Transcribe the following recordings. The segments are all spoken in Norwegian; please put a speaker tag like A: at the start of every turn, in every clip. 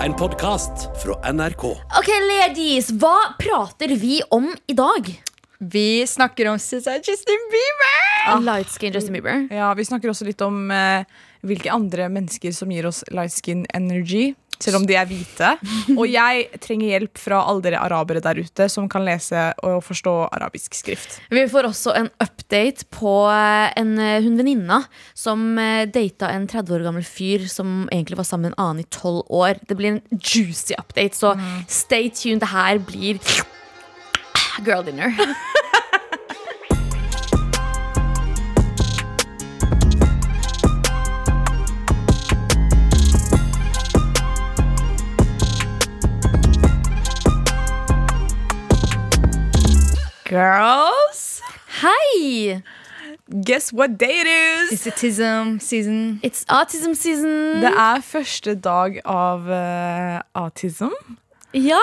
A: En podkast fra NRK.
B: Ok, ladies, hva prater vi om i dag?
C: Vi snakker om Suicide Justin Bieber!
B: Ah. Light skin Justin Bieber.
C: Ja, Vi snakker også litt om eh, hvilke andre mennesker som gir oss light skin energy. Selv om de er hvite. Og jeg trenger hjelp fra alle dere arabere der ute som kan lese og forstå arabisk skrift.
B: Vi får også en update på eh, en, eh, hun venninna som eh, data en 30 år gammel fyr som egentlig var sammen med en annen i 12 år. Det blir en juicy update, så stay tuned. Det her blir girl dinner.
C: Girls,
B: Hei!
C: guess what day it is?
D: It's a tism season.
B: It's autism season.
C: Det er første dag av eh, autism.
B: Ja!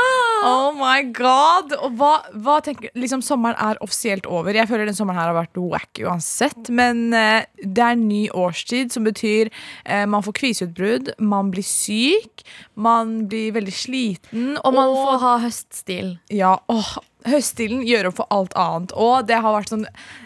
C: Oh my god! Og hva, hva tenker Liksom Sommeren er offisielt over. Jeg føler den sommeren her har vært wack uansett. Men eh, det er ny årstid, som betyr eh, man får kviseutbrudd, man blir syk, man blir veldig sliten.
B: Og man får ha høststil.
C: Ja, åh, Høststilen gjør opp for alt annet. Og det har vært sånn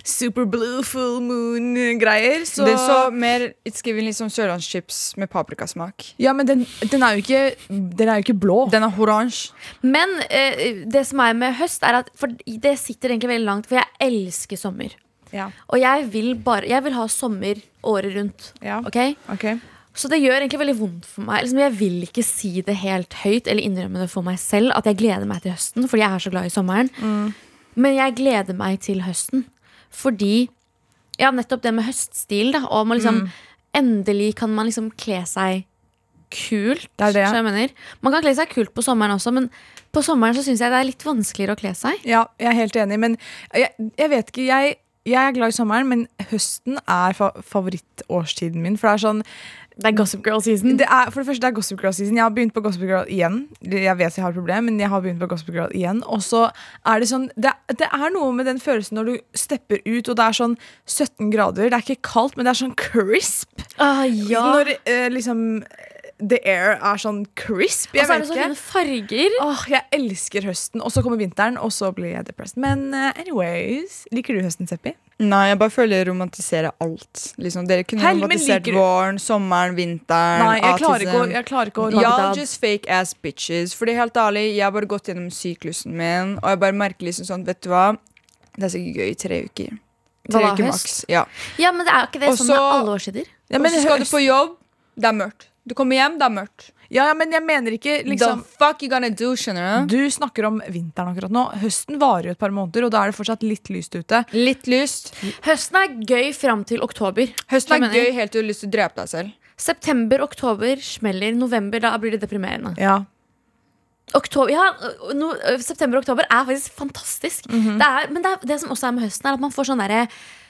C: super blue full moon-greier. Så,
D: Det er så mer It's given liksom sørlandschips med paprikasmak.
C: Ja, men den, den, er jo ikke, den er jo ikke blå.
D: Den er oransje.
B: Men eh, det som er med høst, er at for det sitter egentlig veldig langt, for jeg elsker sommer.
C: Ja,
B: Og jeg vil, bare, jeg vil ha sommer året rundt.
C: ja,
B: ok?
C: ok.
B: Så det gjør egentlig veldig vondt for meg. Liksom, jeg vil ikke si det helt høyt eller innrømme det for meg selv at jeg gleder meg til høsten, fordi jeg er så glad i sommeren.
C: Mm.
B: Men jeg gleder meg til høsten fordi Ja, nettopp det med høststil, da. Og man liksom,
C: Mm.
B: endelig kan man liksom kle seg kult.
C: Det er det.
B: så jeg mener. Man kan kle seg kult på sommeren også, men på sommeren så syns jeg det er litt vanskeligere å kle seg.
C: Ja, jeg er helt enig, men jeg, jeg vet ikke jeg, jeg er glad i sommeren, men høsten er fa favorittårstiden min. For det er sånn
B: Det er gossip girl season.
C: det er, For det første, det er Gossip Girl-season. Jeg har begynt på Gossip Girl igjen. Jeg vet jeg har et problem, men jeg har begynt på Gossip Girl igjen. Og så er det sånn det, det er noe med den følelsen når du stepper ut, og det er sånn 17 grader. Det er ikke kaldt, men det er sånn crisp.
B: Ah, ja.
C: Når eh, liksom The air er sånn
B: Og
C: crisp. Jeg
B: så er
C: vet
B: det så
C: ikke.
B: fine farger.
C: Åh, Jeg elsker høsten, og så kommer vinteren, og så blir jeg depressed. Men eh, anyways, liker du høsten, Seppi?
D: Nei, jeg bare føler jeg romantiserer alt. Liksom, dere kunne
C: Hell, men
D: romantisert
C: liker du-
D: våren, sommeren, vinteren,
C: Nei, jeg klarer ikke å,
D: autism.
C: jeg klarer ikke å
D: Y'all
B: Bagdad.
D: just fake ass bitches. Fordi helt ærlig, jeg har bare gått gjennom syklusen min, og jeg bare merker liksom sånn, vet du hva Det er sikkert gøy i tre uker. Tre
B: Hva da,
D: uker
B: høst?
D: maks. Ja.
B: Ja, men det er jo ikke det
D: Også-
B: sånn med alle årstider.
C: ja,
D: og
C: men,
D: så skal du
C: høst-
D: på jobb, det er mørkt. Du kommer hjem, det er mørkt.
C: ja, ja, men jeg mener ikke liksom,
D: The fuck you gonna do, skjønner du?
C: Du snakker om vinteren akkurat nå. Høsten varer jo et par måneder, og da er det fortsatt litt lyst ute.
D: Litt lyst.
B: Høsten er gøy fram til oktober.
D: Høsten
B: Skjønner
D: er
B: jeg.
D: gøy helt til du har lyst til å drepe deg selv.
B: September, oktober smeller. November, da blir det deprimerende.
C: Ja.
B: Oktober, ja, øh, no, september og oktober er faktisk fantastisk.
C: Mhm.
B: det er, men det, er, det som også er med høsten, er at man får sånn derre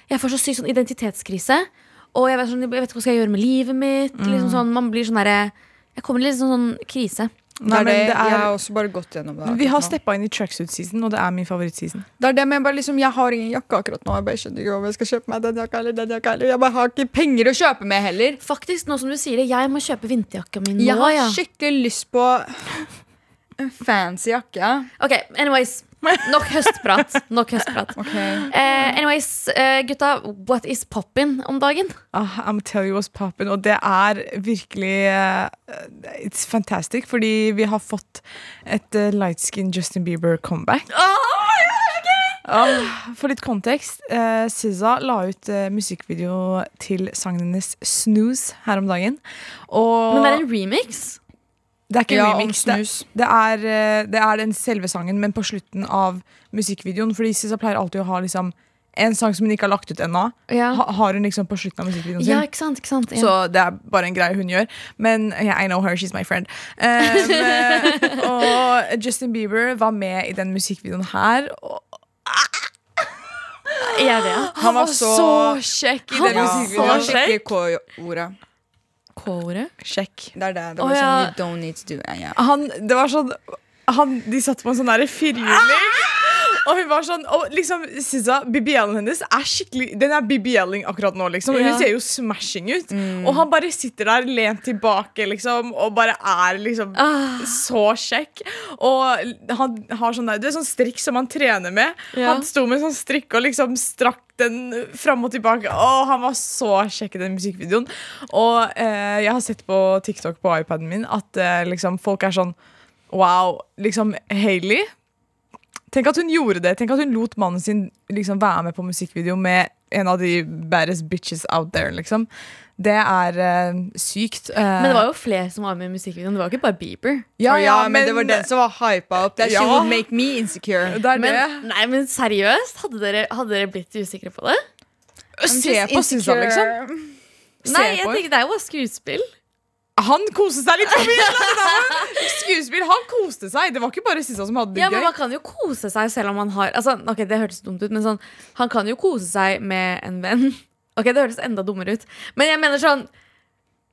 B: Jeg får så syk sånn identitetskrise. Og jeg vet, sånn, jeg vet ikke hva skal jeg gjøre med livet mitt.
C: Mhm.
B: Liksom sånn, man blir sånn derre Jeg kommer til en sånn, sånn krise.
C: Nei,
D: det er
C: men
D: det,
C: det er,
D: jeg har også bare gått gjennom det.
C: vi
D: akkurat
C: har
D: nå.
C: steppa inn i tracksuit-season, og det er min favorittseason.
D: Det er det med bare liksom, Jeg har ingen jakke akkurat nå. Jeg bare skjønner ikke om jeg skal kjøpe meg den jakka eller den jakka. eller Jeg bare har ikke penger å kjøpe med heller.
B: Faktisk, nå som du sier det, jeg må kjøpe vinterjakka mi nå.
D: Jeg har
B: ja.
D: skikkelig lyst på en fancy jakke.
B: Ok, anyways. Nok høstprat. Nok høstprat.
D: Ok
B: Eh, anyways, eh, gutta, what is poppin om dagen?
C: Ah, I'm tell you what's poppin', og det er virkelig eh, It's fantastic, fordi vi har fått et eh, light skin Justin Bieber comeback. Ah, for litt kontekst, eh, SZA la ut eh, musikkvideo til sangen hennes 'Snooze' her om dagen. Og
B: Men det er en remix.
C: det er ikke
D: Ja,
C: en
D: om
C: remix. Det,
D: snus.
C: det, er, eh, det er den selve sangen, men på slutten av musikkvideoen. Fordi SZA pleier alltid å ha liksom, en sang som hun ikke har lagt ut ennå.
B: Ja.
C: Ha, har hun liksom på slutten av musikkvideoen sin.
B: Ja, ikke sant? ikke sant? Ja.
C: Så det er bare en greie hun gjør. Men yeah, I know her, she's my friend. Um, eh, og Justin Bieber var med i den musikkvideoen her. Og
B: jeg vet.
D: Han var så
C: kjekk
B: Ah, Han
C: i den
B: var
C: musikkvideoen.
B: så
D: Han skikkelig K-ordet.
B: K-ordet?
C: Kjekk.
D: Det er det. Det var
B: Å, ja.
D: sånn You don't need to do it. Ja.
C: Han, det var sånn han, De satt på en sånn derre firhjuling. Og hun var sånn Og liksom, Sizza, BBL-en hennes er skikkelig Den er BBL-ing akkurat nå, liksom. Hun
B: Ja.
C: ser jo smashing ut. Og han bare sitter der lent tilbake, liksom, og bare er liksom
B: Ah.
C: så kjekk. Og han har sånn der Du er sånn strikk som han trener med.
B: Ja.
C: Han sto med sånn strikk og liksom strakk den fram og tilbake. Å, han var så kjekk i den musikkvideoen. Og eh, jeg har sett på TikTok på iPaden min at eh, liksom folk er sånn Wow. Liksom Hailey Tenk at hun gjorde det. Tenk at hun lot mannen sin liksom være med på musikkvideo med en av de baddest bitches out there, liksom. Det er eh, sykt. eh.
B: Men det var jo flere som var med i musikkvideoen. Det var ikke bare Bieber.
C: ja,
D: Å
C: ja,
D: men, det var den som var hypa opp. That she
C: Ja.
D: would make me insecure.
C: Det er
B: Men,
C: det.
B: nei, men seriøst, hadde dere, hadde dere blitt usikre på det?
C: Se på Susan, liksom. Se
B: Nei, jeg
C: på
B: tenker det er jo bare skuespill.
C: Han koste seg litt for mye! da, det der. Skuespill. Han koste seg. Det var ikke bare Sissa som hadde det
B: Ja, men
C: gøy.
B: Man kan jo kose seg selv om man har altså, Ok, Det hørtes dumt ut, men sånn han kan jo kose seg med en venn. Ok, Det hørtes enda dummere ut. Men jeg mener sånn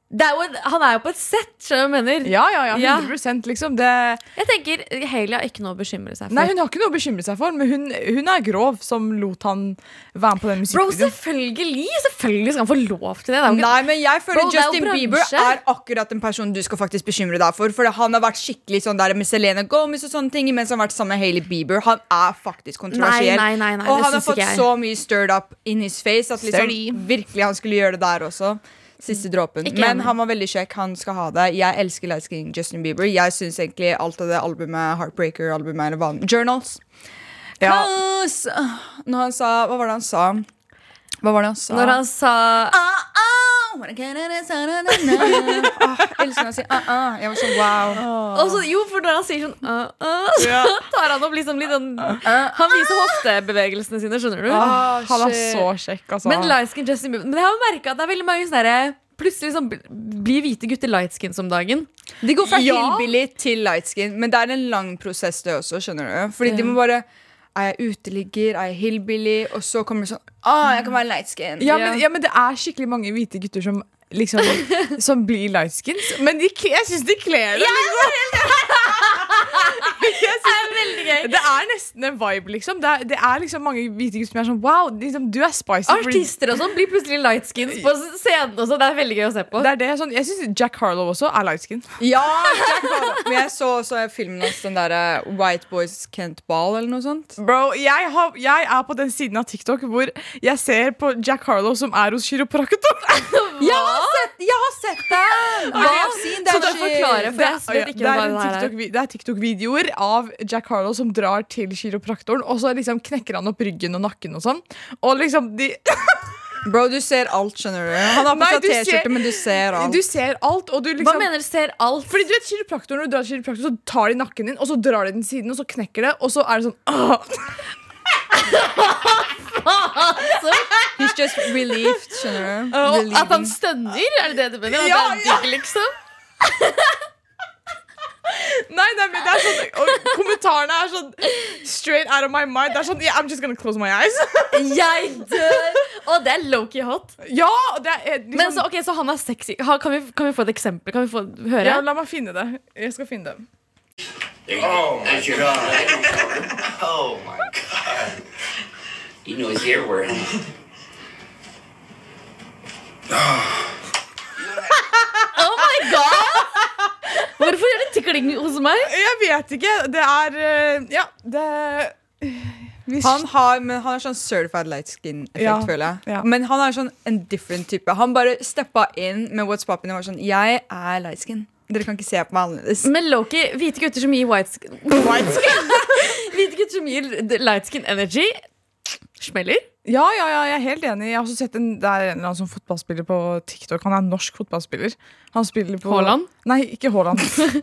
B: det er jo, en- Han er jo på et sett, skjønner du hva jeg mener?
C: Ja, ja, ja.
B: Ja.
C: 100 liksom. Det,
B: Jeg tenker, Hailey har ikke noe å bekymre seg for.
C: nei, hun har ikke noe å bekymre seg for, men hun, hun er grov som lot han være med på
B: Bro,
C: den musikkvideoen.
B: selvfølgelig! Selvfølgelig skal han få lov til det. det er jo ikke,
D: Nei, men jeg føler
B: Bro, det er jo
D: Justin Bieber
B: bransje.
D: er akkurat den personen du skal faktisk bekymre deg for. For han har vært skikkelig sånn der med Selena Gomez og sånne ting mens han har vært sammen med Hailey Bieber. Han er faktisk kontroversiell.
B: Nei, nei, nei, nei, det
D: og han har
B: synes ikke
D: fått
B: jeg.
D: så mye stirred up in his face at
C: Sturdy.
D: liksom, virkelig han skulle gjøre det der også. Siste dråpen.
B: Mm. Ikke
D: Men
B: enig.
D: han var veldig kjekk. Han skal ha det. Jeg elsker lightskin Justin Bieber. Jeg syns egentlig alt av det albumet Heartbreaker-albumet eller hva Journals.
C: Ja.
D: Cause, øh, Når han sa Hva var det han sa? Hva var det han sa?
B: Når han sa
D: ah, ah, wanna get it, it's, ah, na, na, na. Ah, jeg elsker når han sier ah, ah. Jeg var sånn wow.
B: "Ah," og så- Jo, for når han sier sånn «Øh, øh»,
C: Ja. Ah,
B: Så tar han opp liksom litt den Han viser hoftebevegelsene sine, skjønner du?
D: Ah,
C: Han er
D: shit.
C: så kjekk, altså.
B: Men light skin Justin Bieber Men jeg har jo merket at det er veldig mange sånne der, Plutselig sånn, bl- blir hvite gutter light skins om dagen.
D: De går fra
C: Ja.
D: hillbilly til light skin, men det er en lang prosess, det også. skjønner du Fordi de må bare Er jeg uteligger? Er jeg hillbilly? Og så kommer det sånn ah, Jeg kan være light skin.
C: ja,
B: Ja.
C: men, ja, men det er skikkelig mange hvite gutter som liksom Som blir lightskins. Men de, kle- jeg syns de kler liksom. det.
B: Det er veldig gøy
C: Det er nesten en vibe, liksom. Det er, det er liksom mange hvite gutter som er sånn Wow, liksom, du er spicy. fordi-
B: Artister og sånn blir plutselig light skins på scenen også. Det er veldig gøy å se på.
C: Det er det, sånn, jeg syns Jack Harlow også er lightskin.
D: Ja, Jack Harlow. Men jeg så også filmen hans, den derre White Boys Kent Ball eller noe sånt.
C: Bro, jeg, har, jeg er på den siden av TikTok hvor jeg ser på Jack Harlow som er hos kiropraktor.
D: Jeg har sett, jeg har sett den!
B: Hva? Så du forklarer, for jeg
C: Ja,
B: vet
C: det
B: ikke
C: er
B: hva
C: en
B: det her er.
C: TikTok-vi- det er TikTok-videoer av Jack Harlow som drar til kiropraktoren, og så liksom knekker han opp ryggen og nakken og sånn. Og liksom, de,
D: Bro, du ser alt, skjønner du. Han har på
C: Nei,
D: seg
C: du ser-
D: T-skjorte, men du ser alt.
C: du ser alt, og du liksom
B: Hva mener du ser alt?
C: Fordi du vet, kiropraktoren, når du drar til kiropraktoren, så tar de nakken din, og så drar de den siden, og så knekker det, og så er det sånn «Åh!»
D: He's just relieved, skjønner du.
B: Og at han
D: Relieving.
B: stønner? Er det det du mener?
C: Ja,
B: At det er digg, liksom?
C: Nei, nei, men det er sånn Og kommentarene er sånn straight out of my mind. Det er sånn yeah, I'm just gonna close my eyes.
B: Jeg dør! Og det er lowkey hot.
C: Ja, og det er eh, liksom,
B: Men så, ok, så han er sexy. Ha, kan, vi, kan vi få et eksempel? Kan vi få høre?
C: ja, La meg finne det. Jeg skal finne det.
E: Oh my god. oh my god. You know he's everywhere.
B: Oh my god! Hvorfor gjør det tikling hos meg?
C: Jeg vet ikke. Det er eh, Ja, det Vi-
D: Han har, men han har sånn certified light skin-effekt,
C: Ja,
D: føler jeg.
C: ja.
D: Men han er sånn en different type. Han bare steppa inn med What's Poppin' og var sånn Jeg er light skin. Dere kan ikke se på meg annerledes.
B: Men Loki, hvite gutter som gir white skin White skin? Hvite gutter som gir light skin energy Smeller
C: Ja, ja, ja, jeg er helt enig. Jeg har også sett en, det er en eller annen sånn fotballspiller på TikTok. Han er en norsk fotballspiller. Han spiller på
B: Haaland?
C: Nei, ikke Haaland. Eh,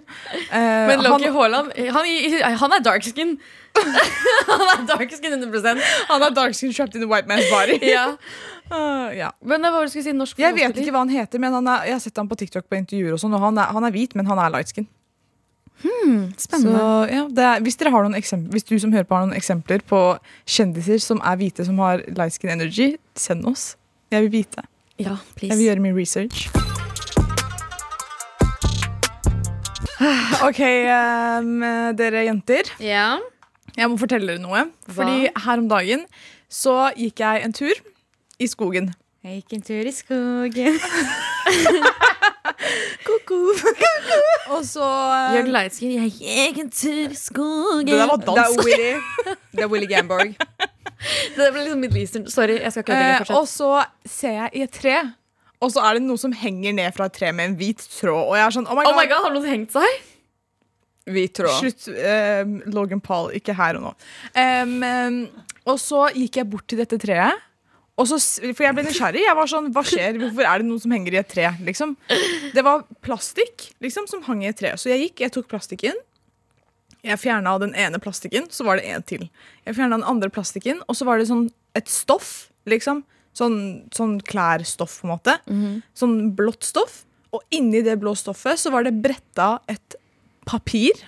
B: Men Loki
C: han,
B: Haaland, han, gir- han er dark skin Han er dark skin 100%
C: han er dark skin trapped in a white man's body.
B: Ja
C: Eh, ja.
B: Men det var hva du skulle si norsk
C: Jeg vet
B: fotballspiller.
C: ikke hva han heter, men han er, jeg har sett ham på TikTok på intervjuer og sånn, og han er, han er hvit, men han er light skin. Så,
B: Spennende
C: ja, det er, hvis, dere har noen eksempler, hvis du som hører på har noen eksempler på kjendiser som er hvite, som har light skin energy, send oss. Jeg vil vite.
B: Ja,
C: Jeg
B: please
C: vil gjøre min research. OK, em, ehm, dere jenter.
B: Ja
C: Jeg må fortelle dere noe. Fordi her om dagen så gikk jeg en tur i skogen.
F: Jeg gikk en tur i skogen.
C: Og så eh,
B: Jørgen Lightskin, jeg gikk en tur i skogen.
C: Det der var
D: Det er
C: dansk.
D: Willy, det er Willy Gamborg.
B: Det ble liksom Middle Eastern. Sorry, jeg skal ikke
C: eh,
B: ødelegge.
C: og så ser jeg i et tre, og så er det noe som henger ned fra et tre med en hvit tråd. Og jeg er sånn, oh my god,
B: Oh my god, har noen hengt seg?
D: Hvit tråd.
C: Slutt, eh, Logan Paul. Ikke her og nå. Em, em, og så gikk jeg bort til dette treet. Og så, s- for jeg ble nysgjerrig. Jeg var sånn, Hva skjer? Hvorfor er det noe som henger i et tre? Liksom. Det var plastikk liksom, som hang i et tre. Så jeg gikk, jeg tok plastikken. Jeg fjerna den ene plastikken, så var det en til. Jeg fjerna den andre plastikken, og så var det sånn et stoff. liksom. Sånn, sånn klærstoff, på en måte. Sånn blått stoff. Og inni det blå stoffet så var det bretta et papir.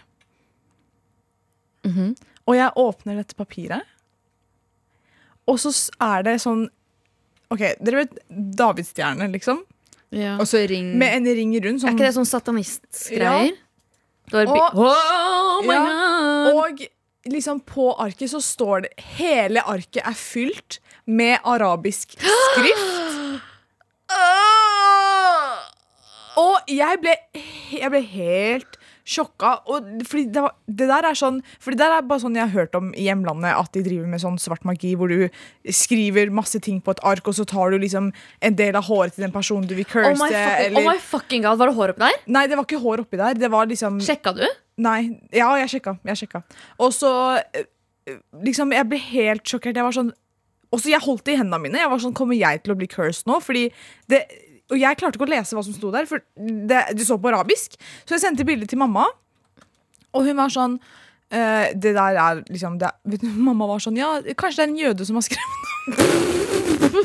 C: Og jeg åpner dette papiret, og så s- er det sånn Ok, dere vet davidsstjerne, liksom?
B: Ja.
D: Og så ring
C: Med en ring rundt.
B: Mm. Er
C: Sånn,
B: ikke det sånn satanistgreier? Ja.
C: Og-
B: oh my
C: Ja.
B: god!
C: og liksom på arket så står det Hele arket er fylt med arabisk skrift. Og jeg ble, jeg ble helt sjokka. Og fordi det, var, det der er sånn Fordi det der er bare sånn jeg har hørt om i hjemlandet, at de driver med sånn svart magi, hvor du skriver masse ting på et ark, og så tar du liksom en del av håret til den personen du vil curse.
B: Oh my, fucking,
C: eller,
B: oh my fucking god, Var det hår oppi der?
C: Nei, det var ikke hår oppi der. Det var liksom
B: Sjekka du?
C: Nei, ja, jeg sjekka. Jeg sjekka. Og så eh, liksom, Jeg ble helt sjokkert. Jeg var sånn Og så jeg holdt det i hendene mine. Jeg var sånn, Kommer jeg til å bli cursed nå? Fordi det Og jeg klarte ikke å lese hva som sto der, for det, det så på arabisk. Så jeg sendte bildet til mamma, og hun var sånn eh, det der er liksom det, er- vet du, Mamma var sånn Ja, kanskje det er en jøde som har skrevet det.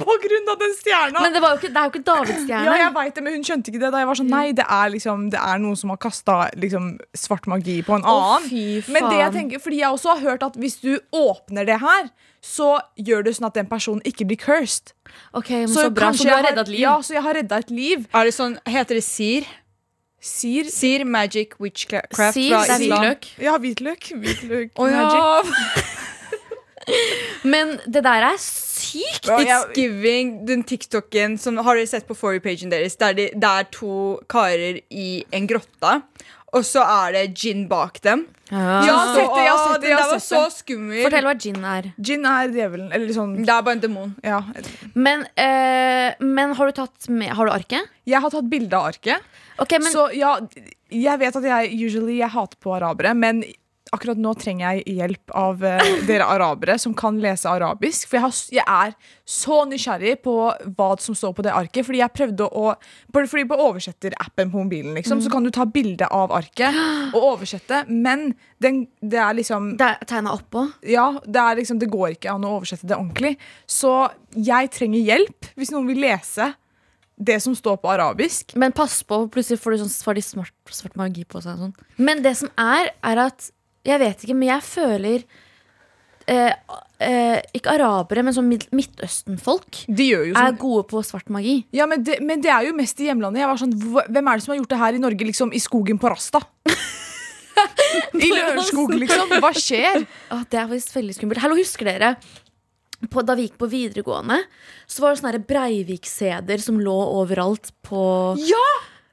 C: På grunn av den stjerna!
B: Men det, var jo ikke, det er jo ikke
C: Ja,
B: Davidsstjerne.
C: jeg vet det, men hun skjønte ikke det da jeg var sånn Nei, det er liksom, det er noen som har kasta liksom, svart magi på en annen.
B: fy faen.
C: men det jeg tenker, fordi jeg også har hørt at hvis du åpner det her, så gjør det sånn at den personen ikke blir cursed.
B: Ok, men så, bra,
C: kanskje
B: så du har
C: jeg
B: redda et liv?
C: Ja, så jeg har redda et liv.
D: Er det sånn, Heter det sir?
C: Sier
D: Sir magic witchcraft
B: Sier,
D: fra
B: det er
D: Island.
B: hvitløk.
C: Ja, hvitløk. Hvitløk
D: Å
C: magic.
D: ja.
B: Men det der er sykt!
C: Ja,
D: It's
C: jeg-
D: giving den TikToken som Har dere sett på Fory-pagen deres? Der de, det er to karer i en grotte, og så er det gin bak dem.
C: Jeg har
D: Så,
C: sett det, jeg har
D: «Å,
C: sett det,
D: Ah, det
C: jeg har
D: der var
C: sett
D: så
C: det.»
D: skummel.
B: Ah. Fortell hva gin er.
C: Gin er djevelen. Eller sånn
D: Det er bare en demon.
C: Ja.
B: Men, eh, men har du tatt med Har du arket?
C: Jeg har tatt bilde av arket.
B: Ok, men
C: så ja, jeg vet at jeg usually jeg hater på arabere, men akkurat nå trenger jeg hjelp av eh, dere arabere som kan lese arabisk. For jeg, har, s- jeg er så nysgjerrig på hva som står på det arket. Fordi jeg prøvde å bare Fordi på oversetterappen på mobilen liksom,
B: Mm.
C: så kan du ta bilde av arket og oversette, men den, det er liksom
B: det er tegna oppå.
C: ja, det, er liksom, det går ikke an å oversette det ordentlig. Så jeg trenger hjelp hvis noen vil lese det som står på arabisk.
B: Men pass på, plutselig får, du sånn, får de svart, svart magi på seg. og Sånn. Men det som er, er at Jeg vet ikke, men jeg føler eh, eh, Ikke arabere, men sånn Mid Midtøsten-folk
C: De gjør jo
B: er
C: sånn.
B: gode på svart magi.
C: Ja, men det, men det er jo mest i hjemlandet. Jeg var sånn, hva- Hvem er det som har gjort det her i Norge, liksom? I skogen på Rasta? I Lørenskog, liksom? Hva skjer?
B: Å, det er faktisk veldig skummelt. Hallo, husker dere? På, da vi gikk på videregående, så var det sånne her Breivik-sæder som lå overalt på
D: Ja!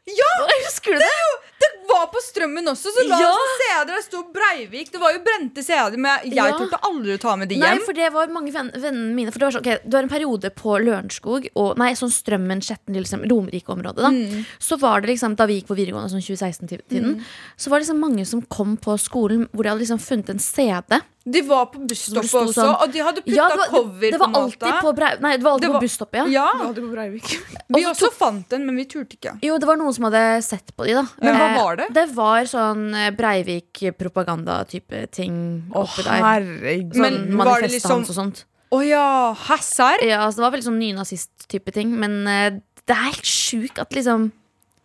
D: Ja!
B: Husker du det?
D: Det var på strømmen også, så la
B: Ja.
D: oss se CD. Det sto Breivik. Det var jo brente CD, men jeg
B: Ja.
D: torde aldri å ta med de
B: Nei,
D: hjem.
B: for det var mange venn, vennene mine. For det var sånn, ok, det var en periode på Lørenskog, og nei, sånn Strømmen, Skjetten, liksom, Romerike-området, da.
D: Mm.
B: Så var det liksom, da vi gikk på videregående, sånn 2016-tiden, så var det liksom mange som kom på skolen hvor de hadde liksom funnet en CD.
D: De var på
B: Hvor det
D: busstoppet
B: sto
D: også,
B: sånn-
D: og de hadde putta
B: Ja, det var,
D: cover
B: det, det var
D: på en måte.
B: alltid på, Brei- nei, det var alltid
D: Det
B: på
D: var-
B: busstoppet, ja.
D: Ja,
C: Ja, det på Breivik.
D: Vi også fant den, men vi turte ikke.
B: Jo, det var noen som hadde sett på de, da.
C: Men hva
B: Eh,
C: var det?
B: Det var sånn eh, Breivik-propaganda-type ting
C: Å,
B: oppi der.
C: herregud.
B: Sånn
D: Men var det
B: manifestet
D: liksom-
B: hans og sånt.
D: Å ja, hæ, serr?
B: Ja, altså, det var veldig sånn nynazist-type ting, men eh, det er helt sjukt at liksom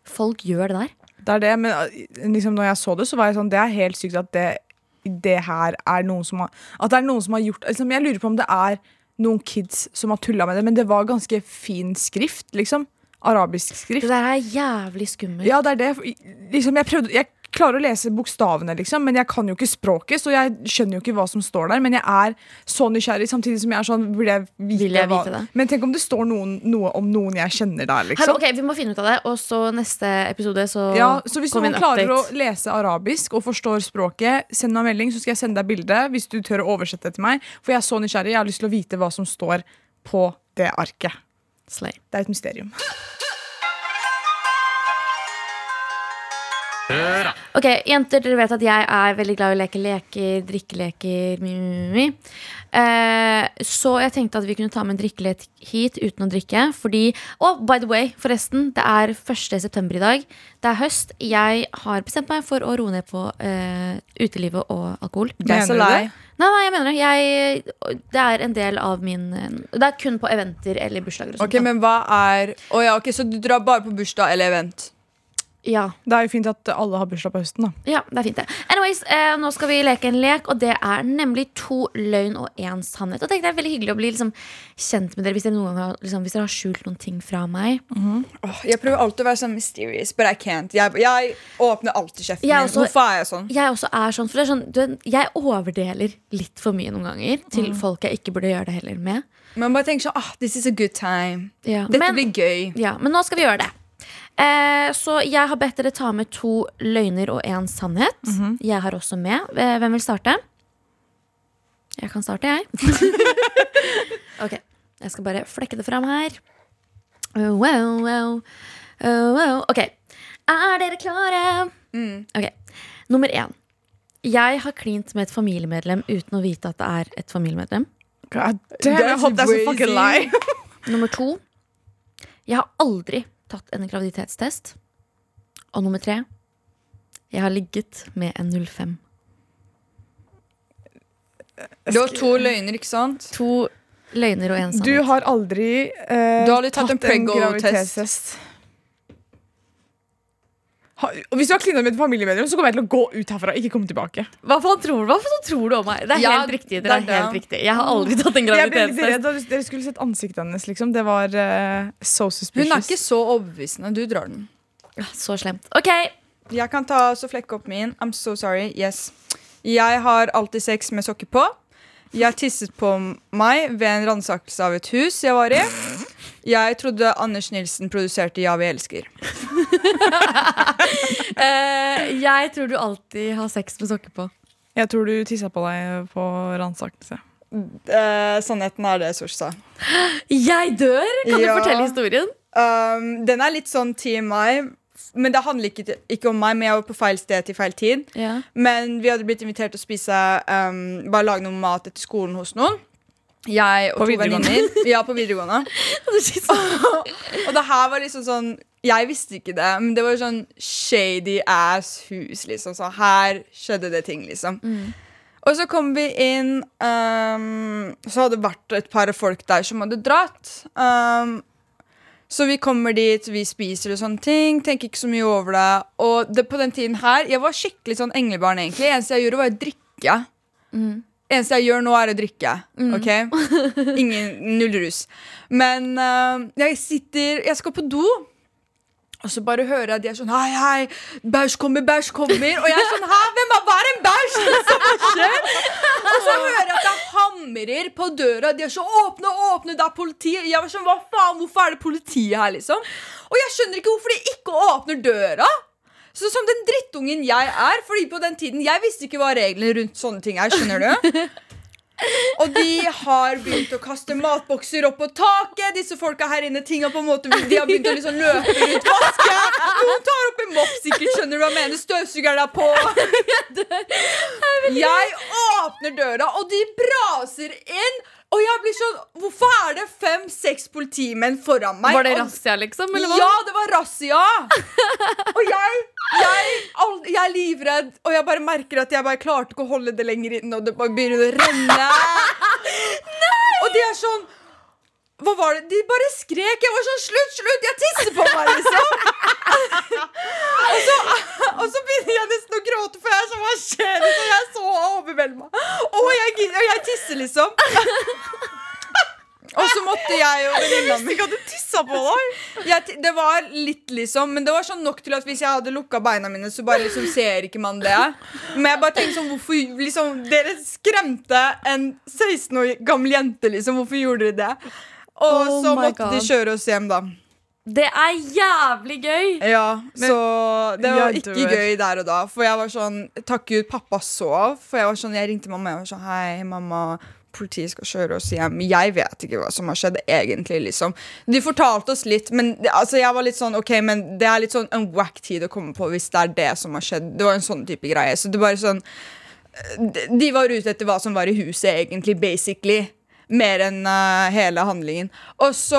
B: folk gjør det der.
C: Det er det, men eh, liksom, når jeg så det, så var jeg sånn Det er helt sykt at det, det her er noen som har At det er noen som har gjort liksom, Jeg lurer på om det er noen kids som har tulla med det, men det var ganske fin skrift, liksom. Arabisk skrift.
B: Det der er jævlig skummelt.
C: Ja, det er det. Liksom, jeg, prøvde, jeg klarer å lese bokstavene, liksom, men jeg kan jo ikke språket, så jeg skjønner jo ikke hva som står der. Men jeg er så nysgjerrig, samtidig som jeg er sånn Vil jeg vite,
B: Vil jeg
C: hva-
B: vite det?
C: Men tenk om det står noen, noe om noen jeg kjenner der,
B: Hallo,
C: liksom.
B: ok, Vi må finne ut av det, og så neste episode så,
C: Ja, så hvis
B: kommer
C: noen
B: en
C: klarer å
B: update.
C: lese arabisk og forstår språket, send meg en melding, så skal jeg sende deg bilde hvis du tør å oversette det til meg. For jeg er så nysgjerrig, jeg har lyst til å vite hva som står på det arket.
B: Slay.
C: Det er et mysterium.
B: Ok, Jenter, dere vet at jeg er veldig glad i å leke leker, drikkeleker mi, mi, mi, mi. Eh, Så jeg tenkte at vi kunne ta med en drikkelek hit uten å drikke. Fordi Og by the way, forresten, det er 1. september i dag. Det er høst. Jeg har bestemt meg for å roe ned på eh, utelivet og alkohol.
D: Jeg er
C: Mener
D: så
C: du
D: lei.
C: det?
B: Nei, nei, jeg mener det. Jeg, det er en del av min eh, Det er kun på eventer eller bursdager. og sånt,
D: Ok,
B: da.
D: men hva er Å ja, ok, Så du drar bare på bursdag eller event?
B: ja,
C: Det er jo fint at alle har bursdag på høsten, da.
B: ja, det er fint, det. Anyways, eh, Nå skal vi leke en lek, og det er nemlig to løgn og én sannhet. Og tenk, Det er veldig hyggelig å bli liksom, kjent med dere hvis dere noen gang har, liksom, hvis dere har skjult noen ting fra meg.
D: Åh, jeg prøver alltid å være sånn mysterious, but I can't. Jeg, jeg åpner alltid kjeften
B: Jeg
D: min.
B: også-
D: Hvorfor er jeg sånn?
B: Jeg også er sånn, for det er sånn du, vet, Jeg overdeler litt for mye noen ganger til folk jeg ikke burde gjøre det heller med.
D: Man bare tenker sånn ah, This is a good time.
B: Ja,
D: Dette
B: men-
D: blir gøy.
B: Ja, men nå skal vi gjøre det. Eh, så jeg har bedt dere ta med to løgner og én sannhet. Jeg har også med. Eh, Hvem vil starte? Jeg kan starte, jeg. ok, jeg skal bare flekke det fram her. Oh, wow, wow. Oh, wow. Ok, er dere klare? Ok, Nummer én. Jeg har klint med et familiemedlem uten å vite at det er et familiemedlem.
C: God damn,
D: That's
C: jeg hoppet deg
D: crazy.
C: så fucking lei.
B: Nummer to Jeg har aldri tatt en graviditetstest. Og nummer tre Jeg har ligget med en 05.
D: Du har to løgner, ikke sant?
B: To løgner og en
C: Du
B: sannhet.
C: har aldri eh,
D: Du har aldri tatt en prego-test.
C: graviditetstest. Ha- og Hvis du har klina med et familiemedlem, så kommer jeg til å gå ut herfra. Ikke komme tilbake.
B: Hva faen tror du, hva faen tror du om meg? Det er
D: Ja,
B: helt riktig.
D: det
B: Dere
D: er
B: er helt
D: det.
B: riktig. Jeg har aldri tatt en
C: Jeg ble litt
B: graviditetstest.
C: redd da Dere skulle sett ansiktet hennes. Liksom. Det var eh, so suspicious.
D: Hun er ikke så overbevisende. Du drar den.
B: Så slemt. Ok,
D: Jeg kan ta så flekke opp min. I'm so sorry. Yes. Jeg har alltid sex med sokker på. Jeg tisset på meg ved en ransakelse av et hus jeg var i. Jeg trodde Anders Nilsen produserte Ja, vi elsker.
B: eh, Jeg tror du alltid har sex med sokker på.
C: Jeg tror du tissa på deg eh, på ransakelse.
D: Eh, sannheten er det, Sorsa.
B: Jeg dør! Kan
D: Ja.
B: du fortelle historien?
D: Um, den er litt sånn TMI, men det handler ikke, ikke om meg. Men jeg var på feil sted til feil tid.
B: Ja.
D: Men vi hadde blitt invitert til å spise um, Bare lage noe mat etter skolen hos noen. Jeg og
C: På
D: to
C: videregående.
D: venninner. Ja, på videregående. Og det her var liksom sånn Jeg visste ikke det, men det var sånn shady ass hus, liksom. Så her skjedde det ting, liksom. Og så kom vi inn um, Så hadde det vært et par folk der som hadde dratt. Um, så vi kommer dit, vi spiser og sånne ting. Tenker ikke så mye over det. Og det, på den tiden her, jeg var skikkelig sånn englebarn, egentlig. Eneste jeg gjorde, var å drikke. Eneste jeg gjør nå, er å drikke. Ok? Ingen Null rus. Men eh, jeg sitter Jeg skal på do. Og så bare hører jeg de er sånn Hei, hei, bæsj kommer, bæsj kommer. Og jeg er sånn Hæ, hvem er, hva er en bæsj? Liksom, hva skjer? Og så hører jeg at det hamrer på døra. De er sånn Åpne, åpne, det er politi. Jeg var sånn Hva faen, hvorfor er det politiet her, liksom? Og jeg skjønner ikke hvorfor de ikke åpner døra. Så som den drittungen jeg er, fordi på den tiden jeg visste ikke hva reglene rundt sånne ting er, skjønner du? Og de har begynt å kaste matbokser opp på taket. Disse folka her inne ting har på en måte De har begynt å liksom løpe rundt vaske. Noen tar opp en mopp, sikkert. Skjønner du hva jeg mener? Støvsugeren er på. Jeg åpner døra, og de braser inn. Og jeg blir sånn Hvorfor er det fem-seks politimenn foran meg?
B: Var det
D: Og-
B: razzia, liksom? Eller hva?
D: ja, det var razzia! Og jeg, jeg, all, jeg er livredd, og jeg bare merker at jeg bare klarte ikke å holde det lenger inn, og det bare begynner å renne. Og de er sånn Hva var det? De bare skrek. Jeg var sånn Slutt, slutt! Jeg tisser på meg, liksom! og, så, og så begynner jeg nesten å gråte, for jeg er sånn Hva skjer? Liksom, jeg er så overvelda. Og jeg, gidder- og jeg tisser, liksom. Og så måtte jeg og venninna mi
C: Ikke at du tissa
D: ta på deg? Jeg, t- det var litt, liksom. Men det var sånn nok til at hvis jeg hadde lukka beina mine, så bare liksom ser ikke man det. Men jeg bare tenkte sånn, hvorfor liksom Dere skremte en 16 år gammel jente, liksom. Hvorfor gjorde dere det? Og
B: Oh
D: så
B: my
D: måtte de
B: God.
D: kjøre oss hjem, da.
B: Det er jævlig gøy!
D: Ja, Så det var ikke
C: Jentever.
D: gøy der og da. For jeg var sånn Takk Gud, pappa sov. For jeg var sånn, jeg ringte mamma og var sånn Hei, mamma. Politiet skal kjøre oss hjem. Jeg vet ikke hva som har skjedd, egentlig. liksom De fortalte oss litt, men det- altså, jeg var litt sånn Ok, men det er litt sånn en wack tid å komme på hvis det er det som har skjedd. Det var en sånn type greie. Så det var sånn de- De var ute etter hva som var i huset, egentlig, basically. Mer enn eh, hele handlingen. Og så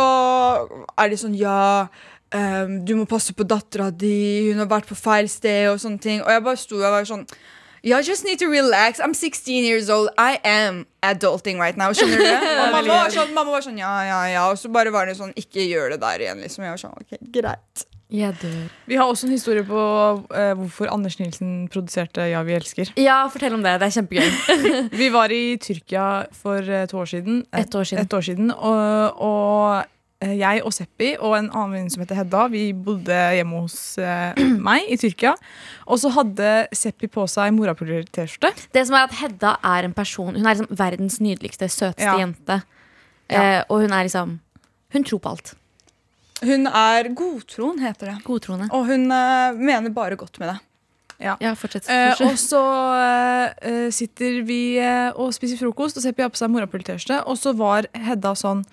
D: er de sånn Ja, ehm, du må passe på dattera di, hun har vært på feil sted, og sånne ting. Og jeg bare sto og var sånn Yeah, I just need to relax. I'm 16 years old. I am adulting right now. Skjønner du? Og mamma var sånn, mamma var sånn ja, ja, ja. Og så bare var det sånn Ikke gjør det der igjen, liksom. Jeg var sånn, ok, greit.
B: Jeg dør.
C: Vi har også en historie på eh, hvorfor Anders Nilsen produserte Ja, vi elsker.
B: Ja, fortell om det. Det er kjempegøy.
C: Vi var i Tyrkia for eh, to år siden. Eh,
B: Ett år siden.
C: Ett år siden og, og eh, jeg og Seppi og en annen venninne som heter Hedda, vi bodde hjemme hos eh, meg i Tyrkia. Og så hadde Seppi på seg morapuler-T-skjorte.
B: Det som er at Hedda er en person Hun er liksom verdens nydeligste, søteste
C: Ja.
B: jente.
C: Ja.
B: Eh, og hun er liksom Hun tror på alt.
D: Hun er godtroen, heter det.
B: Godtroende.
D: Og hun eh, mener bare godt med det.
B: Ja, fortsett.
C: Eh,
B: Torstein.
C: og så eh, eh, sitter vi eh, og spiser frokost, og Seppi har på seg morapuler-T-skjorte, og så var Hedda sånn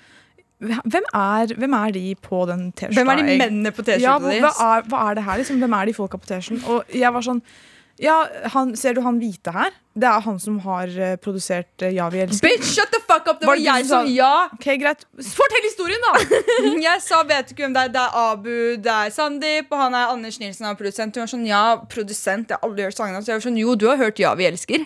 C: hvem er, hvem er de på den T-skjorta?
D: Hvem er de
C: egentlig?»
D: mennene på
C: ja,
D: T-skjorta
C: hva,
D: di?
C: hva, er, hva er det her, liksom? Hvem er de folka på T-skjorten? Og jeg var sånn Ja, han, ser du han hvite her? Det er han som har eh, produsert eh, Ja, vi elsker.
D: Bitch, shut the fuck up! Det
C: Var
D: var
C: det du
D: jeg
C: som
D: som
C: sa-
D: ja!
C: Ok, greit. Fortell historien, da!
D: Jeg sa vet ikke hvem det er. Det er Abu, det er Sandeep, og han er Anders Nilsen, han er produsent. Hun var sånn ja, produsent, jeg har aldri hørt sangen hans. Jeg var sånn jo, du har hørt Ja, vi elsker.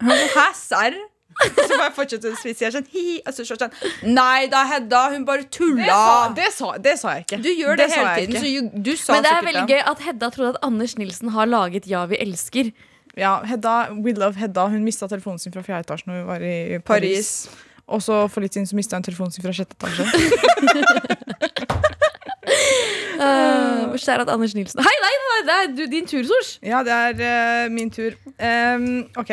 D: Hun var sånn, Hæ, serr? Så bare fortsatte hun å spise. Jeg er sånn hi, og så sånn Nei da, Hedda, hun bare
C: Det sa,
D: tulla.
C: det, sa, det sa jeg ikke.
D: Du gjør det,
C: det sa
D: hele
C: jeg
D: tiden,
C: ikke.
D: så you, du sa
B: Men det er
D: sikkert
B: veldig gøy at Hedda trodde at Anders Nilsen har laget Ja, vi elsker.
C: Ja, Hedda, We love Hedda. Hun mista telefonen sin fra fjerde etasje når hun var i Paris.
D: Paris.
C: Og så for litt siden så mista hun telefonen sin fra sjette etasje.
B: Eh, hvor skjer at Anders Nilsen Hei, nei, nei, det er du, din tur, Sors!
C: Ja, det er eh, min tur. Ehm, OK.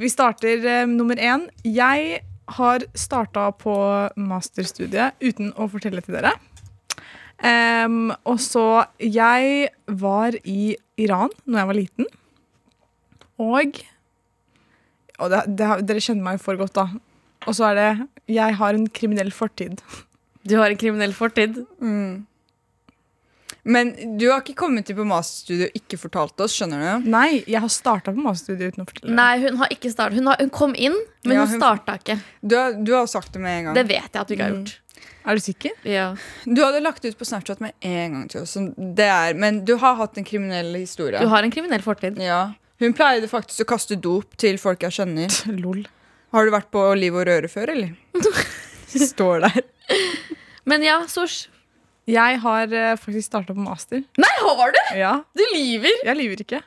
C: Vi starter eh, nummer én. Jeg har starta på masterstudiet uten å fortelle til dere. Ehm, og så Jeg var i Iran når jeg var liten, og og det, det, Dere kjenner meg jo for godt, da. Og så er det Jeg har en kriminell fortid.
B: Du har en kriminell fortid.
D: Men du har ikke kommet til på masterstudio og ikke fortalt oss, skjønner du?
C: Nei, jeg har starta på masterstudiet uten å fortelle.
B: Nei, hun har ikke startet. Hun, har, hun kom inn, men
D: Ja,
B: hun
D: hun-
B: starta ikke.
D: Du har, du har sagt det med en gang.
B: Det vet jeg at du ikke har gjort.
C: Er du sikker?
B: Mm. Ja.
D: Du hadde lagt ut på Snapchat med en gang til oss. som Det er, men du har hatt en kriminell historie.
B: Du har en kriminell fortid.
D: Ja. Hun pleide faktisk å kaste dop til folk jeg skjønner.
C: Lol.
D: Har du vært på Liv og Røre før, eller? Står der.
B: Men ja, Sors.
C: Jeg har eh, faktisk starta på master.
B: Nei, har du?
C: Ja,
B: Du lyver!
C: jeg lyver ikke.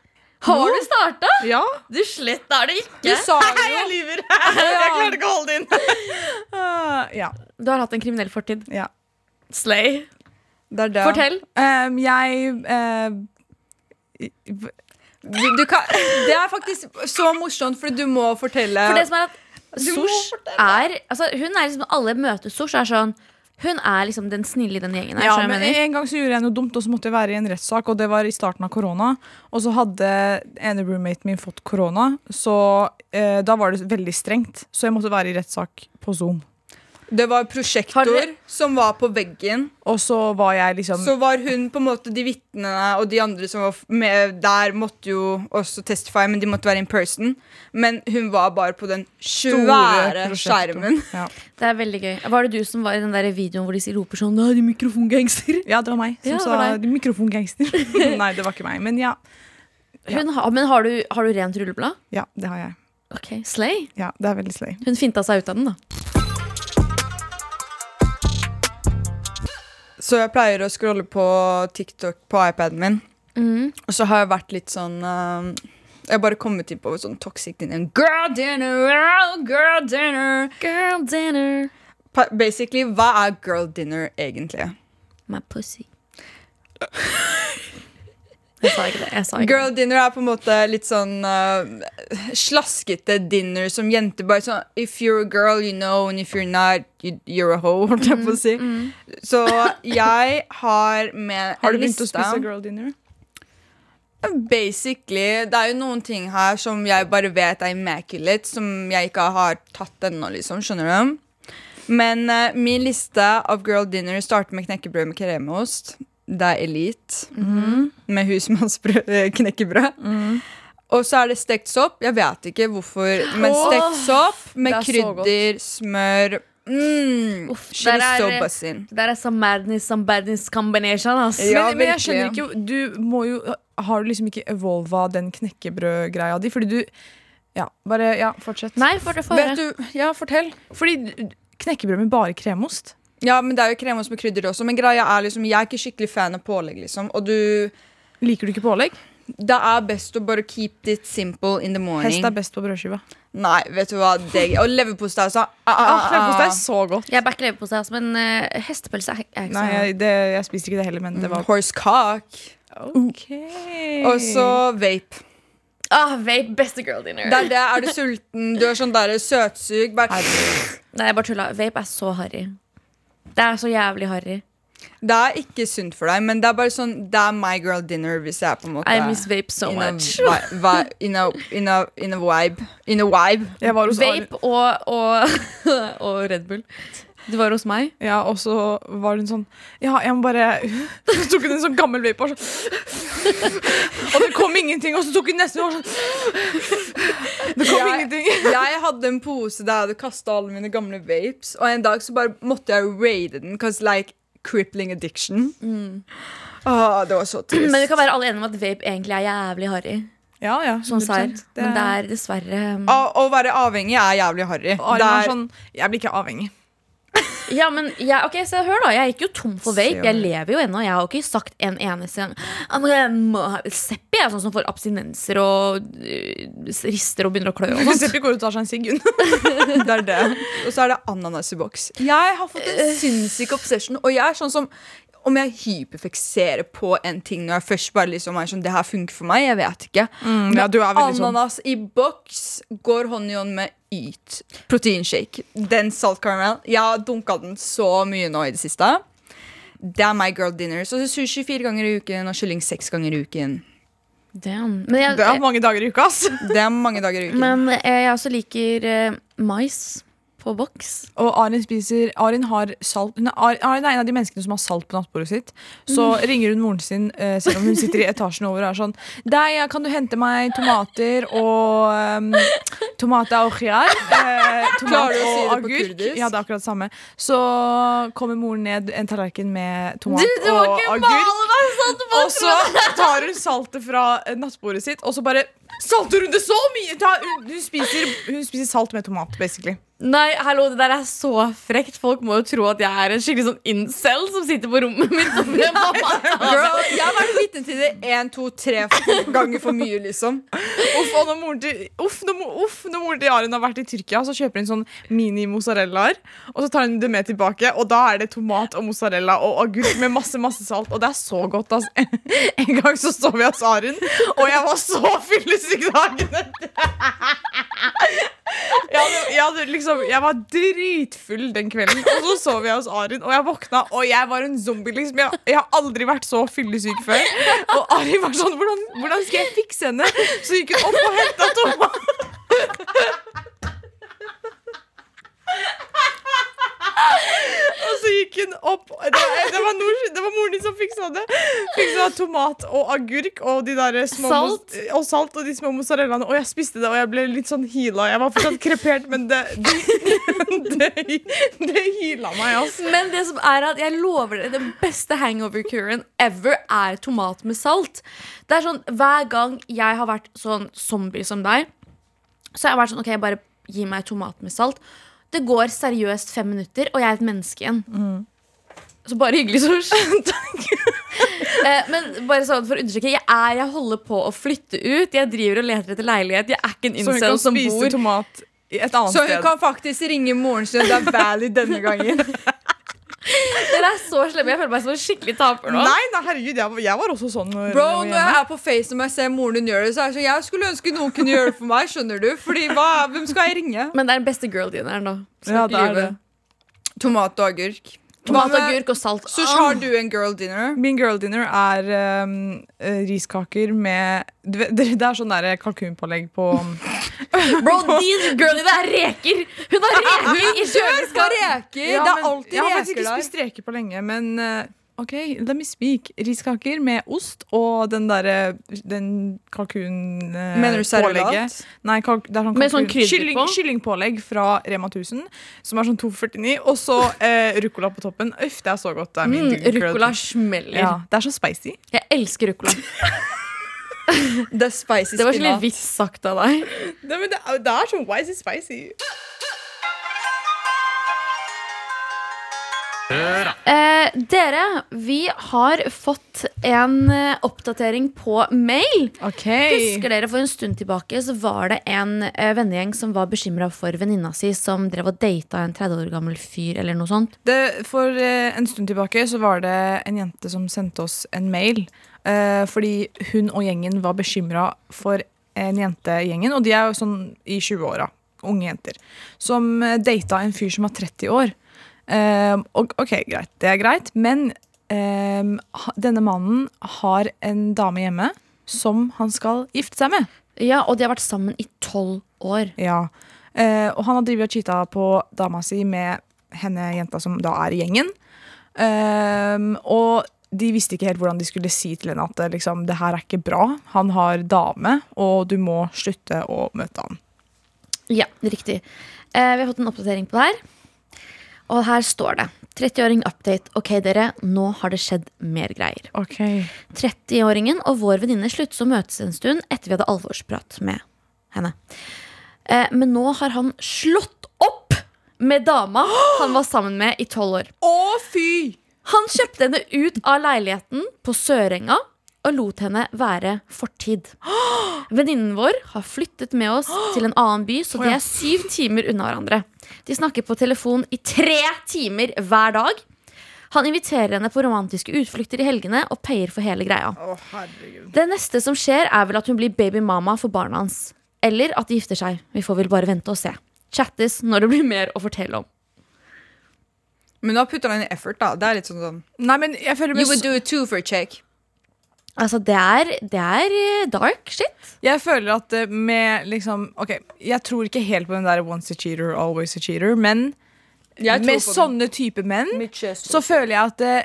B: Har du starta?
C: Ja,
B: Du slett er det ikke.
D: Du sa det jo!
C: jeg lyver! jeg klarte ikke å holde det inn. Ah, ja,
B: Du har hatt en kriminell fortid.
C: ja.
B: Slay.
D: Det er det.
B: Fortell.
C: Ehm, jeg eh, i-
D: Du, du kan, det er faktisk så morsomt, for du må fortelle.
B: For det som er at
D: Du må
B: Sosh er altså, Hun er liksom Alle møter Sosh er sånn Hun er liksom den snille i den gjengen her.
C: ja,
B: skjønner du hva
C: men
B: jeg mener?
C: En gang så gjorde jeg noe dumt, og så måtte jeg være i en rettssak. Og det var i starten av korona. Og så hadde ene roommaten min fått korona, så eh, da var det veldig strengt. Så jeg måtte være i rettssak på Zoom.
D: det var
B: Har
D: prosjektor
B: dere-
D: som var på veggen.
C: Og så var jeg liksom
D: Så var hun på en måte de vitnene og de andre som var f- med der, måtte jo også testify, men de måtte være in person. Men hun var bare på den
C: store
D: svære
C: prosjekter.
D: skjermen.
C: Ja.
B: Det er veldig gøy. Var det du som var i den der videoen hvor de sier- roper sånn Nei, de mikrofongangster.
C: ja, det var meg som
B: Ja, det
C: sa
B: var
C: mikrofongangster. Nei, det var ikke meg, men ja.
B: Hun har- Men har du, har du rent rulleblad?
C: Ja, det har jeg.
B: Ok, Slay.
C: Ja, det er veldig slay.
B: Hun finta seg ut av den, da.
D: Så jeg pleier å scrolle på TikTok på iPaden min.
C: Mm.
D: Og så har jeg vært litt sånn um, Jeg har bare kommet inn på sånn toxic dinner. Girl dinner, oh, girl dinner.
B: Girl dinner.
D: pa- basically, hva er girl dinner egentlig?
B: My pussy. Jeg sa ikke det. Jeg sa ikke
D: Girl dinner er på en måte litt sånn eh, slaskete dinner som jenter bare sånn If you're a girl, you know, and if you're not, you, you're a hoe, holdt jeg
C: Mm,
D: på å si. Så jeg har med
C: Har du
D: en
C: begynt å
D: liste-
C: spise girl dinner?
D: Basically, det er jo noen ting her som jeg bare vet er immaculate, som jeg ikke har tatt ennå, liksom. Skjønner du? Men eh, min liste av girl dinner starter med knekkebrød med kremost. Det er elite.
C: Mhm.
D: Med husmannsbrød eh, knekkebrød. Og så er det stekt sopp. Jeg vet ikke hvorfor, men
C: Åh,
D: stekt sopp med
C: det er så godt.
D: krydder, smør mm,
B: Uff,
D: She
B: der
D: was so
B: er-
D: buzzing.
B: Det der er some madness, some badness combination. ass.
D: Ja,
C: men, men jeg skjønner
D: virkelig.
C: ikke Du må jo Har du liksom ikke evolva den knekkebrødgreia di? Fordi du Ja, bare Ja, fortsett.
B: Nei, for det får
D: Vet
B: høre.
D: du, ja, fortell.
C: Fordi du- knekkebrød med bare kremost?
D: Ja, men Det er jo kremost med krydder også, men greia er liksom, jeg er ikke skikkelig fan av pålegg. liksom Og du,
C: Liker du ikke pålegg?
D: Det er best å bare keep it simple in the morning.
C: Hest er best på brødskiva.
D: Nei, vet du hva? Det, og leverpostei, altså. Ah, ah,
C: Ah,
D: ah,
C: Kremost er
D: ah.
C: så godt.
B: Jeg backer leverpostei, altså, men eh, hestepølse er er ikke
C: Nei,
B: så
C: jeg, det, jeg spiste ikke det heller, men det var
D: Horse cock.
C: OK.
D: Og så vape.
B: Ah, vape, beste girl dinner.
D: Det er det. Er du sulten, du er sånn der søtsug bare,
B: Nei, jeg bare tulla. Vape er så harry. Det er så jævlig harry.
D: Det er ikke sunt for deg, men det er bare sånn Det er my girl dinner hvis jeg er på en måte
B: I miss vape so
D: in a,
B: much.
D: vi- vi- in, a, in, a, in a vibe. In a vibe.
C: Jeg var hos Arne-
B: Vape og, og, og Red Bull. Du var hos meg.
C: Ja, og så var hun sånn Ja, jeg må bare Så tok hun en sånn gammel vape og sånn Og det kom ingenting, og så tok hun nesten og sånn Det kom
D: Jeg-
C: ingenting.
D: Jeg hadde en pose der jeg hadde kastet alle mine gamle vapes, og en dag så bare måtte jeg raide den, cause like crippling addiction. Åh, det var så trist.
B: Men vi kan være alle enige om at vape egentlig er jævlig harry.
C: Ja, ja.
B: Sånn serr.
C: 100%.
B: Men det er dessverre um,
D: Å, å være avhengig er jævlig harry.
C: Og Arne
D: Det
C: var
D: er-
C: sånn Jeg blir ikke avhengig.
B: Ja, men jeg, ok, så hør da Jeg gikk jo tom for vape,
D: Se.
B: jeg lever jo ennå Jeg har jo ikke sagt en eneste gang «Ah, men jeg må ha- Seppi er sånn som får abstinenser Og øh, rister og begynner å klø og sånt.
C: Seppi går ut og tar seg en sigg. hun.
D: det er det. Og så er det ananas i boks. Jeg har fått en sinnssyk obsession, og jeg er sånn som om jeg hyperfikserer på en ting når jeg først bare liksom er sånn Det her funker for meg. Jeg vet ikke. Men
C: ja, du er veldig sånn.
D: ananas i boks går hånd i hånd med Yt. Proteinshake. Den salt caramel. Jeg har dunka den så mye nå i det siste. Det er my girl dinner. Så sushi fire ganger i uken og kylling seks ganger i uken.
B: Damn. Men, jeg,
C: Det er mange dager i uka, ass.
D: Det er mange dager i uken.
B: men eh, jeg også liker eh, mais på boks
C: Og Arin spiser Arin har salt hun er, Ar- Arin er en av de menneskene som har salt på nattbordet sitt. Så
D: Mm.
C: ringer hun moren sin eh, selv om hun sitter i etasjen over og er sånn Deg, ja, kan du hente meg tomater og um, Tomater og khiyar. Eh,
D: Klarer
C: tomat
D: du å si
C: og
D: det på
C: agurk.
D: kurdisk?
C: Ja, det er akkurat det samme. Så kommer moren ned en tallerken med tomat
B: det var sånn
C: og
B: ikke
C: agurk. Og så tar hun saltet fra eh, nattbordet sitt, og så bare salter hun det så mye! Ta, hun, hun, spiser, hun spiser salt med tomat, basically.
B: Nei, hallo, det der er så frekt Folk må jo tro at jeg er en skikkelig sånn incel Som sitter på rommet mitt og blir mamma.
D: Girl, Altså, jeg har vært vitne til det én, to, tre ganger for mye, liksom.
C: Uff, og når moren til, uff, når, mo- uff, når moren til Arin har vært i Tyrkia, så kjøper hun sånn mini-mozzarellaer. Og så tar hun det med tilbake, og da er det tomat og mozzarella og agurk med masse masse salt. Og det er så godt, ass. En gang så så vi hos Arin, og jeg var så fyllesyk dagen etter. Jeg, hadde, jeg, hadde liksom, jeg var dritfull den kvelden, og så sov jeg hos Arin. Og jeg våkna, og jeg var en zombie. liksom Jeg, jeg har aldri vært så fyllesyk før. Og Arin var sånn hvordan, 'Hvordan skal jeg fikse henne?' Så gikk hun opp og henta tomat. Og så gikk hun opp Det var, det var, Nors- det var moren din som fiksa det. Fiksa tomat og agurk og de der små mos- Og salt og de små mozzarellaene. Og jeg spiste det, og jeg ble litt sånn hila. Jeg var fortsatt krepert, men det Det, det, det hila meg, altså. ass.
B: Men det som er at jeg lover dere Den beste hangover-kuren ever er tomat med salt. Det er sånn, Hver gang jeg har vært sånn zombie som deg, så har jeg vært sånn OK, bare gi meg tomat med salt. Det går seriøst fem minutter, og jeg er et menneske igjen. Så bare hyggelig, Sosh. Eh, Men bare sånn for å understreke, jeg, er, jeg holder på å flytte ut. Jeg driver og leter etter leilighet. Jeg er ikke en
C: Så hun
B: incel
C: kan
B: som
C: spise
B: bor
C: tomat et annet
D: Så hun
C: sted.
D: kan faktisk ringe moren sin. Det er Valley denne gangen.
B: Dere er så slemme. Jeg føler meg som en skikkelig taper nå.
C: Nei, nei, herregud, jeg, var- jeg var også sånn. når-
D: Bro,
C: jeg
D: når
C: var hjemme.
D: jeg er på FaceTime og jeg ser moren din gjøre det, så er jeg sånn Jeg skulle ønske noen kunne gjøre det for meg, skjønner du? Fordi hva, hvem skal jeg ringe?
B: Men det er den beste girl-dineren nå. Skal
C: Ja,
B: ikke
C: det er
B: lyve.
C: det. eh,
D: Tomat og agurk. Hva
B: Tomat,
D: med-
B: agurk og salt.
D: Sush, eh, har du en girl dinner?
C: Min girl dinner er ehm, eh, riskaker med du vet, Det det er sånn der kalkunpålegg på
B: Bro, din girl-diner er reker! Hun har reker i kjøleskapet!
D: reker!
C: Ja,
D: det er
C: men-
D: alltid
C: Jeg har faktisk
D: reker
C: ikke
D: der.
C: spist reker på lenge, men eh, OK, let me speak. Riskaker med ost og den derre Den kalkunpålegget.
D: Mener du servelat?
C: Nei, kalk, det er sånn
B: Med sånn
C: kalkun-
B: krydder
C: kylling,
B: på?
C: Kyllingpålegg fra Rema 1000, som er sånn 2,49, og så eh, ruccola på toppen. Uff, det er så godt. Det er min
B: Mm,
C: girl-
B: ruccola smeller.
C: Ja, det er så spicy.
B: Jeg elsker ruccola.
D: Det er spicy
B: Det var ikke litt
D: spinat.
B: vits sagt av deg.
C: Det, men det, er- det er sånn why is it spicy?
B: Eh, dere, vi har fått en eh, oppdatering på mail.
C: Ok.
B: Husker dere for en stund tilbake så var det en eh, vennegjeng som var bekymra for venninna si som drev og data en 30 år gammel fyr eller noe sånt.
C: Det, for eh, en stund tilbake så var det en jente som sendte oss en mail eh, fordi hun og gjengen var bekymra for en jente i gjengen, og de er jo sånn i 20-åra, unge jenter, som eh, data en fyr som var 30 år. Eh, og, ok, greit, det er greit, men eh, ha- denne mannen har en dame hjemme som han skal gifte seg med.
B: Ja, Og de har vært sammen i tolv år.
C: Ja. Eh, og han har drevet og cheata på dama si med henne jenta som da er i gjengen. Ehm, og de visste ikke helt hvordan de skulle si til henne at eh, liksom, det her er ikke bra. Han har dame, og du må slutte å møte han.
B: Ja, riktig. Eh, vi har fått en oppdatering på det her. Og her står det 30-åring update. Ok, dere, nå har det skjedd mer greier.
C: Ok.
B: 30-åringen og vår venninne sluttet å møtes en stund etter vi hadde alvorsprat med henne. Eh, men nå har han slått opp med dama han var sammen med i tolv år.
D: Å, fy!
B: Han kjøpte henne ut av leiligheten på Sørenga og lot henne være fortid. Venninnen vår har flyttet med oss til en annen by, så de er syv timer unna hverandre. De snakker på telefon i tre timer hver dag. Han inviterer henne på romantiske utflukter i helgene og payer for hele greia. Det neste som skjer, er vel at hun blir babymama for barna hans. Eller at de gifter seg. Vi får vel bare vente og se. Chattes når det blir mer å fortelle om.
D: Men da putter han inn effort, da. Det er litt sånn sånn
C: Nei, men jeg føler
D: You
C: med,
D: would do it too for a check.
B: Altså, det er, det er eh, dark shit.
C: jeg føler at eh, med liksom Ok, jeg tror ikke helt på den der once a cheater, always a cheater, men
D: Jeg tror
C: med
D: på den.
C: sånne type menn
D: Så
C: så føler jeg at eh,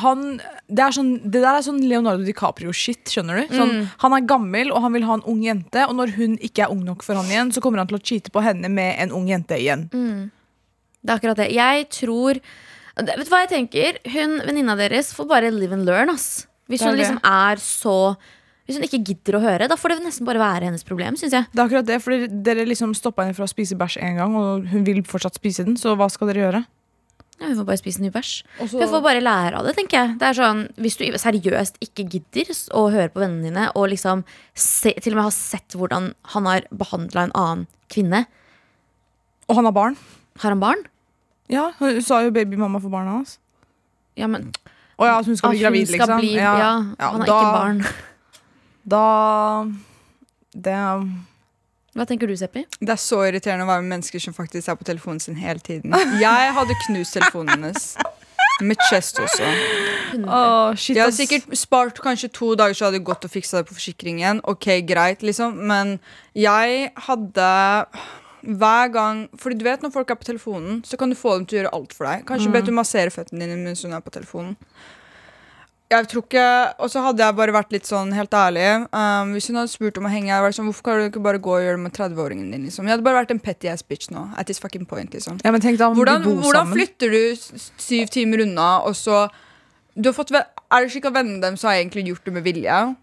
C: han det, er sånn, det der er sånn Leonardo DiCaprio-shit, skjønner du? Sånn, Han er gammel, og han vil ha en ung jente, og når hun ikke er ung nok for han igjen, så kommer han til å cheate på henne med en ung jente igjen.
B: Det er akkurat det. Jeg tror Vet du hva jeg tenker? Hun, Venninna deres får bare live and learn. ass Hvis
C: Det er
B: hun
C: det.
B: liksom er så Hvis hun ikke gidder å høre, da får det nesten bare være hennes problem. Synes jeg
C: Det er akkurat det, for dere, dere liksom stoppa henne fra å spise bæsj én gang, og hun vil fortsatt spise den, så hva skal dere gjøre?
B: ja, Hun får bare spise ny bæsj.
C: Og så-
B: Hun får bare lære av det. tenker jeg Det er sånn, Hvis du seriøst ikke gidder s- å høre på vennene dine, og liksom se, til og med har sett hvordan han har behandla en annen kvinne
C: Og han har barn.
B: Har han barn?
C: Ja, Hun sa jo babymamma for barna hans.
B: Ja, men
C: Å ja, at hun skal bli
B: at hun
C: gravid,
B: skal
C: liksom.
B: bli, ja, han har
C: da,
B: ikke barn.
C: Da det,
B: Hva tenker du, Seppi?
D: Det er så irriterende å være med mennesker som faktisk er på telefonen sin hele tiden. Jeg hadde knust telefonen hennes. Med chest også.
C: Å, shit,
D: Jeg hadde
C: ass.
D: sikkert spart kanskje to dager, så hadde jeg gått og fiksa det på forsikringen. Ok, greit, liksom. Men jeg hadde hver gang Fordi du vet når folk er på telefonen, så kan du få dem til å gjøre alt for deg.
C: Mm.
D: Kanskje bedt hun massere føttene dine mens hun er på telefonen. Jeg tror ikke, Og så hadde jeg bare vært litt sånn helt ærlig. Um, hvis hun hadde spurt om å henge, jeg hadde vært sånn, hvorfor kan du ikke bare gå og gjøre det med 30-åringen din? liksom? Jeg hadde bare vært en petty ass bitch nå. At this fucking point, liksom.
C: ja, men tenk da om de
D: Hvordan,
C: bor
D: hvordan
C: sammen.
D: flytter du s- syv timer unna, og så du har fått, ve- Er det slik at vennene deres har egentlig gjort det med vilje?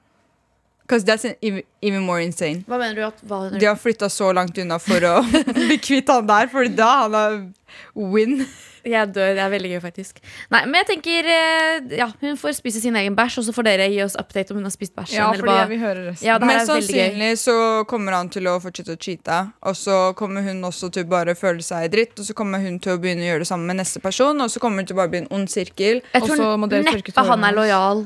D: Because that's an- even- even more insane.
B: Hva mener du at hva,
D: De har flytta så langt unna for å bli kvitt han der, for da han har Win.
B: Jeg dør. Det er veldig gøy, faktisk. Nei, men jeg tenker eh, Ja, hun får spise sin egen bæsj, og så får dere gi oss update om hun har spist bæsjen.
C: Ja,
B: eller
C: fordi
B: hva-
C: jeg vil høre resten.
B: ja, det her
D: Men
B: er veldig gøy.
D: sannsynlig så kommer han til å fortsette å cheate. Og så kommer hun også til bare å føle seg dritt, og så kommer hun til å begynne å gjøre det samme med neste person, og så kommer det til å bare bli en ond sirkel.
B: Jeg
C: Og
B: tror
C: så må dere tørke
B: neppe han er
C: tårene
B: lojal.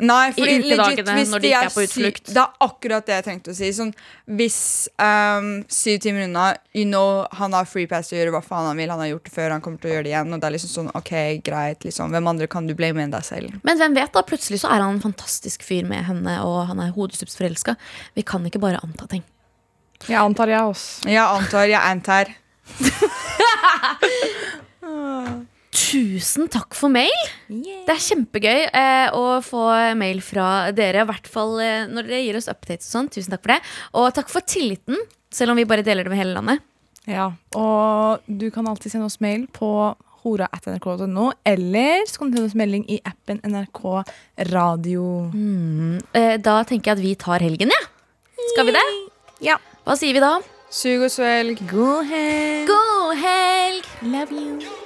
D: Nei, fordi legit,
B: ukedagene,
D: hvis
B: når de ikke er på
D: syv-
B: utflukt.
D: Det er akkurat det jeg tenkte å si. Sånn, hvis ehm, syv timer unna, you know han har free pass til å gjøre hva faen han vil, han har gjort det før, han kommer til å gjøre det igjen, og det er liksom sånn, ok, greit, liksom. Hvem andre kan du blame enn deg selv?
B: Men hvem vet, da? Plutselig så er han en fantastisk fyr med henne, og han er hodestups forelska. Vi kan ikke bare anta ting.
C: Jeg antar jeg også.
D: Jeg antar, jeg antar.
B: Tusen takk for mail! Det er kjempegøy eh, å få mail fra dere, i hvert fall eh, når dere gir oss updates og sånn. Tusen takk for det. Og takk for tilliten, selv om vi bare deler det med hele landet.
C: Ja. Og du kan alltid sende oss mail på hora.nrk.no, eller så kan du sende oss melding i appen NRK Radio.
B: Eh, da tenker jeg at vi tar helgen, jeg. Ja. Skal vi det?
C: Ja.
B: Hva sier vi da?
D: Sug og svelg.
C: God helg!
B: God helg!
C: Love you.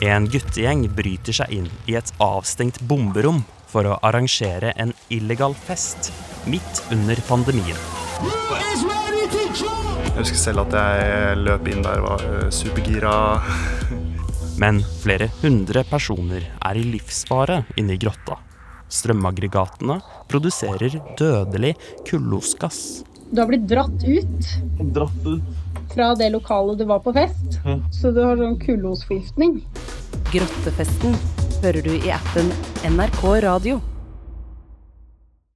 G: En guttegjeng bryter seg inn i et avstengt bomberom for å arrangere en illegal fest midt under pandemien.
H: Jeg husker selv at jeg løp inn der og var eh, supergira.
G: Men flere hundre personer er i livsfare inne i grotta. Strømaggregatene produserer dødelig kullosgass.
I: Du har blitt dratt ut fra det lokalet du var på fest. Så du har sånn kullosforgiftning.
J: Grottefesten hører du i appen NRK Radio.